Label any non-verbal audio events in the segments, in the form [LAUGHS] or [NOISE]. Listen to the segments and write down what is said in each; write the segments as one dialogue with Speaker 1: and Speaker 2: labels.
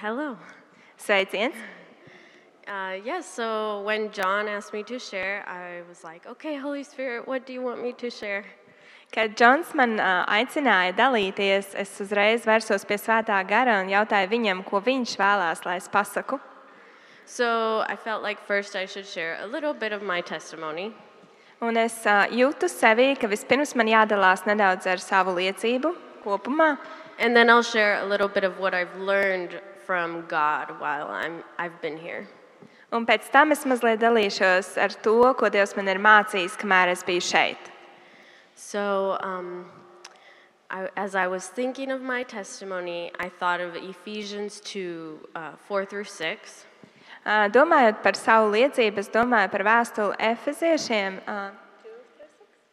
Speaker 1: hello. Sveiciens.
Speaker 2: Uh, yes, so when John asked me to share, I was like, okay, Holy Spirit, what do you want me to share?
Speaker 1: Kad Džons man ā, aicināja dalīties, es uzreiz vērsos pie svētā gara un jautāju viņam, ko viņš vēlās, lai es pasaku.
Speaker 2: So I felt like first I should share a little bit of my testimony.
Speaker 1: Un es ā, jūtu sevī, ka vispirms man jādalās nedaudz ar savu liecību kopumā,
Speaker 2: And then I'll share a little bit of what I've learned from God while I'm, I've been here.
Speaker 1: un pēc tam es mazliet dalīšos ar to, ko Dievs man ir mācījis, kamēr es biju šeit.
Speaker 2: So um, I, as I was thinking of my testimony, I thought of Ephesians 2 uh, 4 through 6.
Speaker 1: Ā, Domājot par savu liecību, es domāju par vēstuli Efeziešiem ā,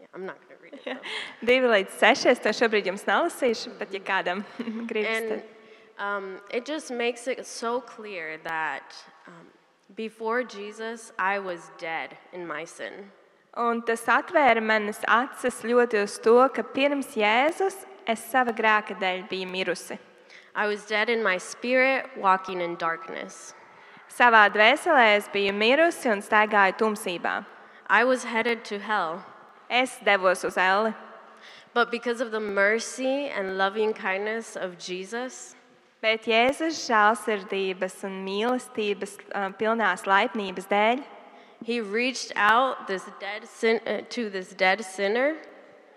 Speaker 2: Yeah, I'm not going to read it. though.
Speaker 1: 2 līdz 6. Es to šobrīd jums nelasīšu, bet, ja kādam [LAUGHS] gribas,
Speaker 2: And
Speaker 1: tad.
Speaker 2: um, it just makes it so clear that um, before Jesus, I was dead in my sin.
Speaker 1: Un tas atvēra manas acis ļoti uz to, ka pirms Jēzus es sava grēka dēļ biju mirusi.
Speaker 2: I was dead in my spirit, walking in darkness.
Speaker 1: Savā dvēselē es biju mirusi un staigāju tumsībā.
Speaker 2: I was headed to hell.
Speaker 1: Es devos uz elli,
Speaker 2: But because of the mercy and loving kindness of Jesus,
Speaker 1: bet Jēzus žēlsirdības un mīlestības ā, pilnās laipnības dēļ
Speaker 2: he reached out this dead sin- uh, to this dead sinner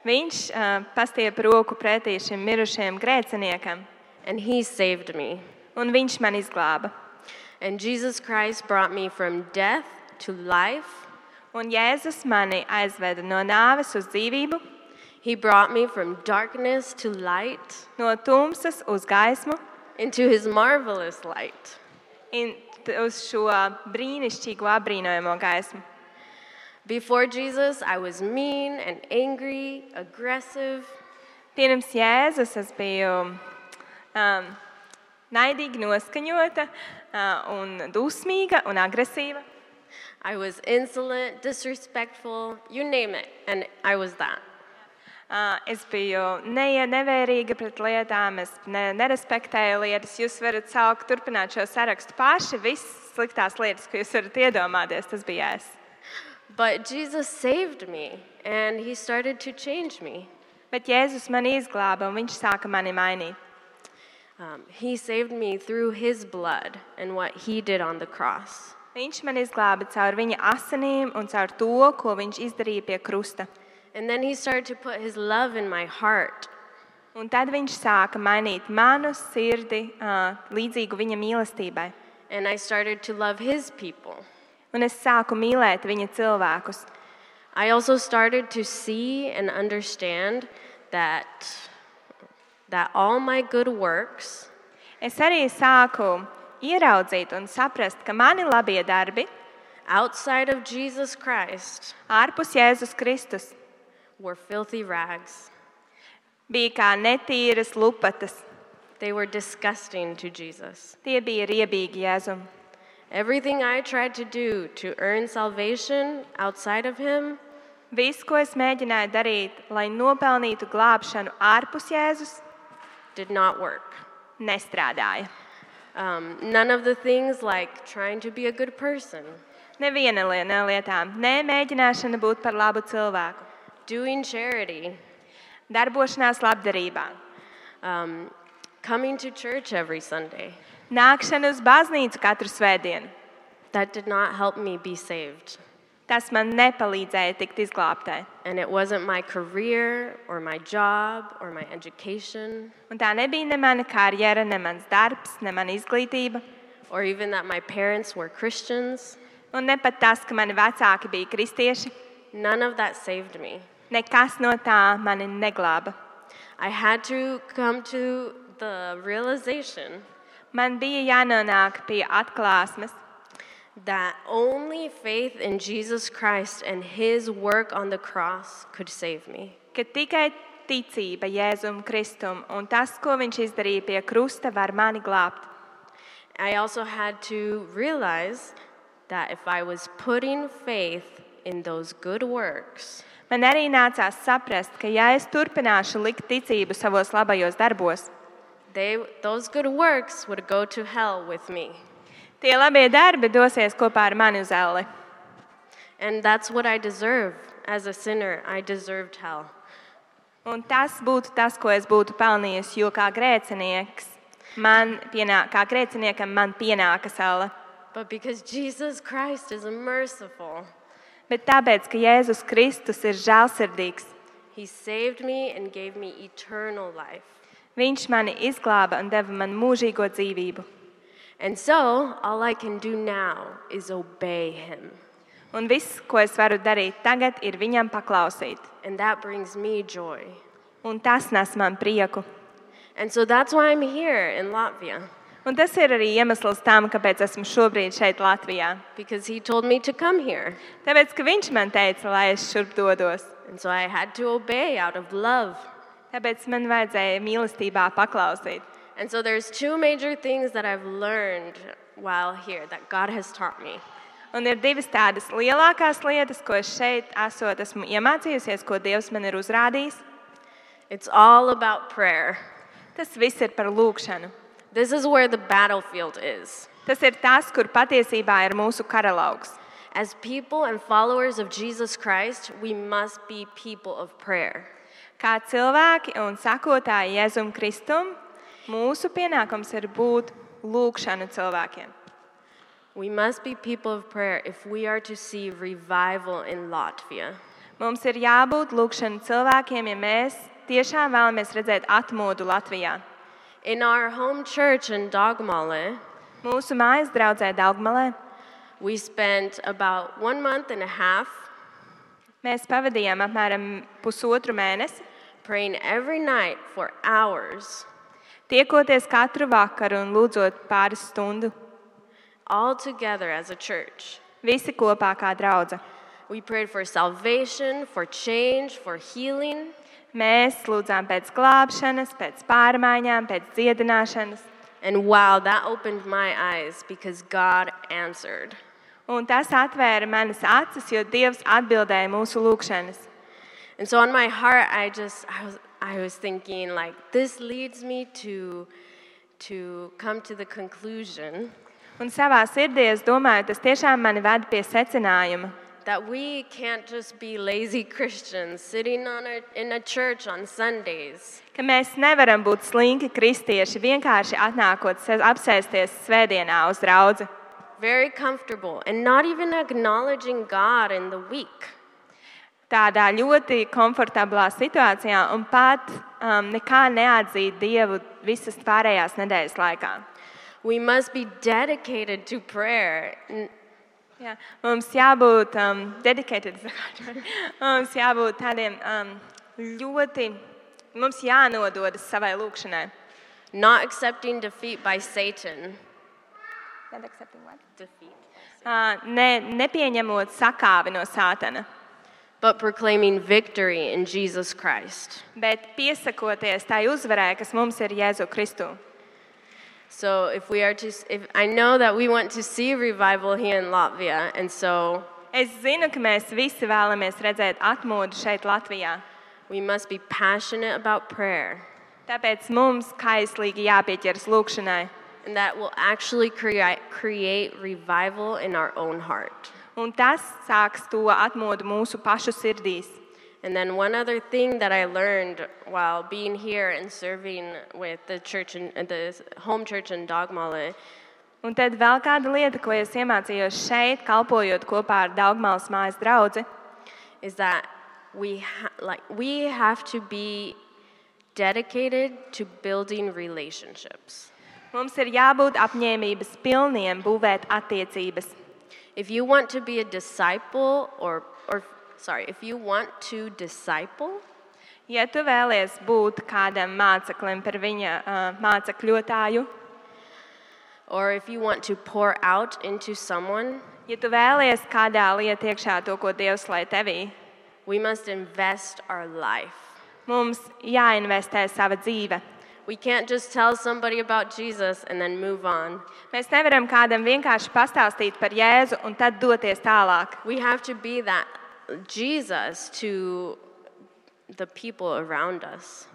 Speaker 1: viņš ā, pastiep roku pretī šim mirušajam grēciniekam,
Speaker 2: and he saved me.
Speaker 1: un viņš man izglāba.
Speaker 2: And Jesus Christ brought me from death to life.
Speaker 1: Un Jēzus mani aizveda no nāves uz dzīvību,
Speaker 2: He brought me from darkness to light.
Speaker 1: no tumsas uz gaismu.
Speaker 2: into his marvelous light.
Speaker 1: in, t- uz šo brīnišķīgo apbrīnojamo gaismu.
Speaker 2: Before Jesus, I was mean and angry, aggressive,
Speaker 1: Pirms Jēzus es biju um, naidīgi noskaņota, uh, un dusmīga un agresīva.
Speaker 2: I was insolent, disrespectful, you name it, and I was that.
Speaker 1: Uh, es biju neie- nevērīga pret lietām, es ne, nerespektēju lietas. Jūs varat saukt, turpināt šo sarakstu paši. Visas sliktās lietas, ko jūs varat iedomāties, tas bija es.
Speaker 2: But Jesus saved me, and he started to change me.
Speaker 1: Bet Jēzus mani izglāba, un viņš sāka mani mainīt.
Speaker 2: Um, he saved me through his blood and what he did on the cross.
Speaker 1: Viņš man izglāba caur viņa asinīm un caur to, ko viņš izdarīja pie krusta.
Speaker 2: And then he started to put his love in my heart.
Speaker 1: Un tad viņš sāka mainīt manu sirdi ā, līdzīgu viņa mīlestībai.
Speaker 2: And I started to love his people.
Speaker 1: Un es sāku mīlēt viņa cilvēkus.
Speaker 2: I also started to see and understand that that all my good works
Speaker 1: Es arī sāku ieraudzīt un saprast, ka mani labie darbi
Speaker 2: outside of Jesus Christ
Speaker 1: ārpus Jēzus Kristus
Speaker 2: were filthy rags.
Speaker 1: bija kā netīras lupatas.
Speaker 2: They were disgusting to Jesus.
Speaker 1: Tie bija riebīgi jēzumi.
Speaker 2: Everything I tried to do to earn salvation outside of him
Speaker 1: Viss, ko es mēģināju darīt, lai nopelnītu glābšanu ārpus Jēzus,
Speaker 2: did not work.
Speaker 1: nestrādāja.
Speaker 2: Um, none of the things like trying to be a good person,
Speaker 1: Neviena li- no lietām, ne mēģināšana būt par labu cilvēku,
Speaker 2: doing charity,
Speaker 1: darbošanās labdarībā,
Speaker 2: um, coming to church every Sunday,
Speaker 1: nākšana uz baznīcu katru svētdienu.
Speaker 2: that did not help me be saved.
Speaker 1: Tas man nepalīdzēja tikt izglābtai.
Speaker 2: And it wasn't my career or my job or my education
Speaker 1: Un tā nebija ne mana karjera, ne mans darbs, ne mana izglītība.
Speaker 2: or even that my parents were Christians.
Speaker 1: Un ne pat tas, ka mani vecāki bija kristieši.
Speaker 2: None of that saved me.
Speaker 1: Nekas no tā mani neglāba.
Speaker 2: I had to come to the realization
Speaker 1: Man bija jānonāk pie atklāsmes,
Speaker 2: that only faith in Jesus Christ and his work on the cross could save me.
Speaker 1: ka tikai ticība Jēzum Kristum un tas, ko viņš izdarīja pie krusta, var mani glābt.
Speaker 2: I also had to realize that if I was putting faith in those good works,
Speaker 1: Man arī nācās saprast, ka ja es turpināšu likt ticību savos labajos darbos,
Speaker 2: They, those good works would go to hell with me.
Speaker 1: Tie labie darbi dosies kopā ar mani uz elli.
Speaker 2: And that's what I deserve as a sinner. I deserved hell.
Speaker 1: Un tas būtu tas, ko es būtu pelnījis, jo kā grēcinieks, man pienāk, kā grēciniekam man pienākas elle.
Speaker 2: But because [LAUGHS] Jesus Christ is merciful,
Speaker 1: Bet tāpēc, ka Jēzus Kristus ir žēlsirdīgs,
Speaker 2: he saved me and gave me eternal life.
Speaker 1: Viņš mani izglāba un deva man mūžīgo dzīvību.
Speaker 2: And so, all I can do now is obey him.
Speaker 1: Un viss, ko es varu darīt tagad, ir viņam paklausīt.
Speaker 2: And that brings me joy.
Speaker 1: Un tas nes man prieku.
Speaker 2: And so that's why I'm here in Latvia,
Speaker 1: Un tas ir arī iemesls tam, kāpēc esmu šobrīd šeit Latvijā.
Speaker 2: because he told me to come here.
Speaker 1: Tāpēc, ka viņš man teica, lai es šurp dodos.
Speaker 2: And so I had to obey out of love.
Speaker 1: Tāpēc man vajadzēja mīlestībā paklausīt.
Speaker 2: And so there's two major things that I've learned while here that God has taught me.
Speaker 1: Un ir divas tādas lielākās lietas, ko es šeit esot, esmu iemācījusies, ko Dievs man ir uzrādījis.
Speaker 2: It's all about prayer.
Speaker 1: Tas viss ir par lūgšanu.
Speaker 2: This is where the battlefield is.
Speaker 1: Tas ir tas, kur patiesībā ir mūsu karalaugs.
Speaker 2: As people and followers of Jesus Christ, we must be people of prayer.
Speaker 1: Kā cilvēki un sakotāji Jēzum Kristum, mūsu pienākums ir būt lūgšanu cilvēkiem.
Speaker 2: We must be people of prayer if we are to see revival in Latvia.
Speaker 1: Mums ir jābūt lūgšanu cilvēkiem, ja mēs tiešām vēlamies redzēt atmodu Latvijā.
Speaker 2: In our home church in Dogmale,
Speaker 1: Mūsu mājas draudzē Dārgmalē
Speaker 2: we spent about one month and a half
Speaker 1: mēs pavadījām apmēram pusotru mēnesi,
Speaker 2: praying every night for hours,
Speaker 1: tiekoties katru vakaru un lūdzot pāris stundu.
Speaker 2: all together as a church.
Speaker 1: Visi kopā kā drauga.
Speaker 2: We prayed for salvation, for change, for healing,
Speaker 1: Mēs lūdzām pēc glābšanas, pēc pārmaiņām, pēc dziedināšanas.
Speaker 2: and wow, that opened my eyes because God answered.
Speaker 1: Un tas atvēra manas acis, jo Dievs atbildēja mūsu lūgšanas.
Speaker 2: And so on my heart, I just I was I was thinking like this leads me to to come to the conclusion
Speaker 1: Un savā sirdī es domāju, tas tiešām mani ved pie secinājuma,
Speaker 2: that we can't just be lazy [LAUGHS] Christians sitting on a, in a church on Sundays
Speaker 1: ka mēs nevaram būt slinki kristieši, vienkārši atnākot se- apsēsties svētdienā uz draugu.
Speaker 2: very comfortable and not even acknowledging God in the week.
Speaker 1: Tādā ļoti komfortablā situācijā un pat um, nekā neatzīt Dievu visas pārējās nedēļas laikā.
Speaker 2: We must be dedicated to prayer. N-
Speaker 1: Jā. Mums jābūt um, [LAUGHS] dedikētiem, mums jābūt tādiem um, ļoti, mums jānododas savai lūkšanai.
Speaker 2: Not accepting defeat by Satan. Defeat.
Speaker 1: Uh, ne, nepieņemot sakāvi no sātana,
Speaker 2: But proclaiming victory in Jesus Christ.
Speaker 1: bet piesakoties tai uzvarai, kas mums ir Jēzu Kristu.
Speaker 2: So if we are to, if I know that we want to see revival here in Latvia, and so
Speaker 1: Es zinu, ka mēs visi vēlamies redzēt atmodu šeit, Latvijā.
Speaker 2: we must be passionate about prayer,
Speaker 1: Tāpēc mums kaislīgi jāpieķeras lūkšanai,
Speaker 2: and that will actually create create revival in our own heart.
Speaker 1: un tas sāks to atmodu mūsu pašu sirdīs.
Speaker 2: And then one other thing that I learned while being here and serving with the church in uh, the home church in Dogmale
Speaker 1: Un tad vēl kāda lieta, ko es iemācījos šeit, kalpojot kopā ar Dārgmālas mājas draugu,
Speaker 2: is that we ha- like we have to be dedicated to building relationships.
Speaker 1: mums ir jābūt apņēmības pilniem būvēt attiecības.
Speaker 2: If you want to be a disciple or or sorry, if you want to disciple,
Speaker 1: Ja tu vēlies būt kādam māceklim par viņa uh, mācekļotāju,
Speaker 2: or if you want to pour out into someone,
Speaker 1: ja tu vēlies kādā lietā iekšā to, ko Dievs lai tevī,
Speaker 2: we must invest our life.
Speaker 1: mums jāinvestē sava dzīve.
Speaker 2: We can't just tell somebody about Jesus and then move on.
Speaker 1: Mēs nevaram kādam vienkārši pastāstīt par Jēzu un tad doties tālāk.
Speaker 2: We have to be that Jesus to the people around us.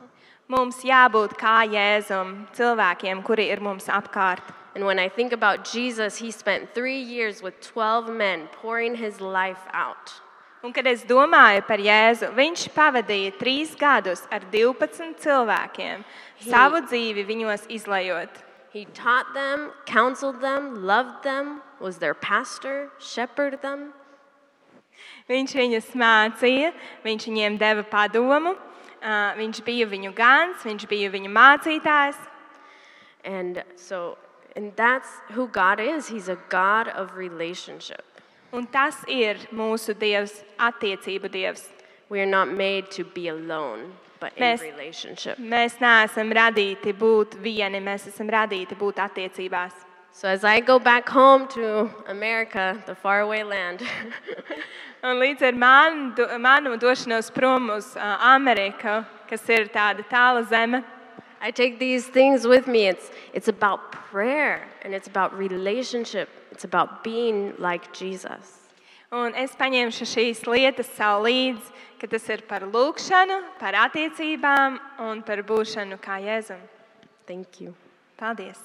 Speaker 1: Mums jābūt kā Jēzum, cilvēkiem, kuri ir mums apkārt.
Speaker 2: And when I think about Jesus, he spent three years with 12 men pouring his life out.
Speaker 1: Un, kad es domāju par Jēzu, viņš pavadīja trīs gadus ar 12 cilvēkiem, savu dzīvi viņos izlējot.
Speaker 2: He taught them, counseled them, loved them, was their pastor, shepherded them.
Speaker 1: Viņš viņus mācīja, viņš viņiem deva padomu, ā, viņš bija viņu gans, viņš bija viņu mācītājs.
Speaker 2: And so, and that's who God is. He's a God of relationship.
Speaker 1: Un tas ir mūsu dievs, attiecību dievs.
Speaker 2: We are not made to be alone, but in
Speaker 1: Mēs-
Speaker 2: relationship.
Speaker 1: Mēs neesam radīti būt vieni, mēs esam radīti būt attiecībās.
Speaker 2: So as I go back home to America, the faraway land, [LAUGHS]
Speaker 1: Un līdz ar manu, do, manu došanos prom uz ā, Ameriku, kas ir tāda tāla zeme,
Speaker 2: I take these things with me. It's, it's about prayer and it's about relationship. It's about being like Jesus.
Speaker 1: un es paņemšu šīs lietas sev līdzi, ka tas ir par lūgšanu, par attiecībām un par būšanu kā jēzum.
Speaker 2: Thank you.
Speaker 1: Paldies!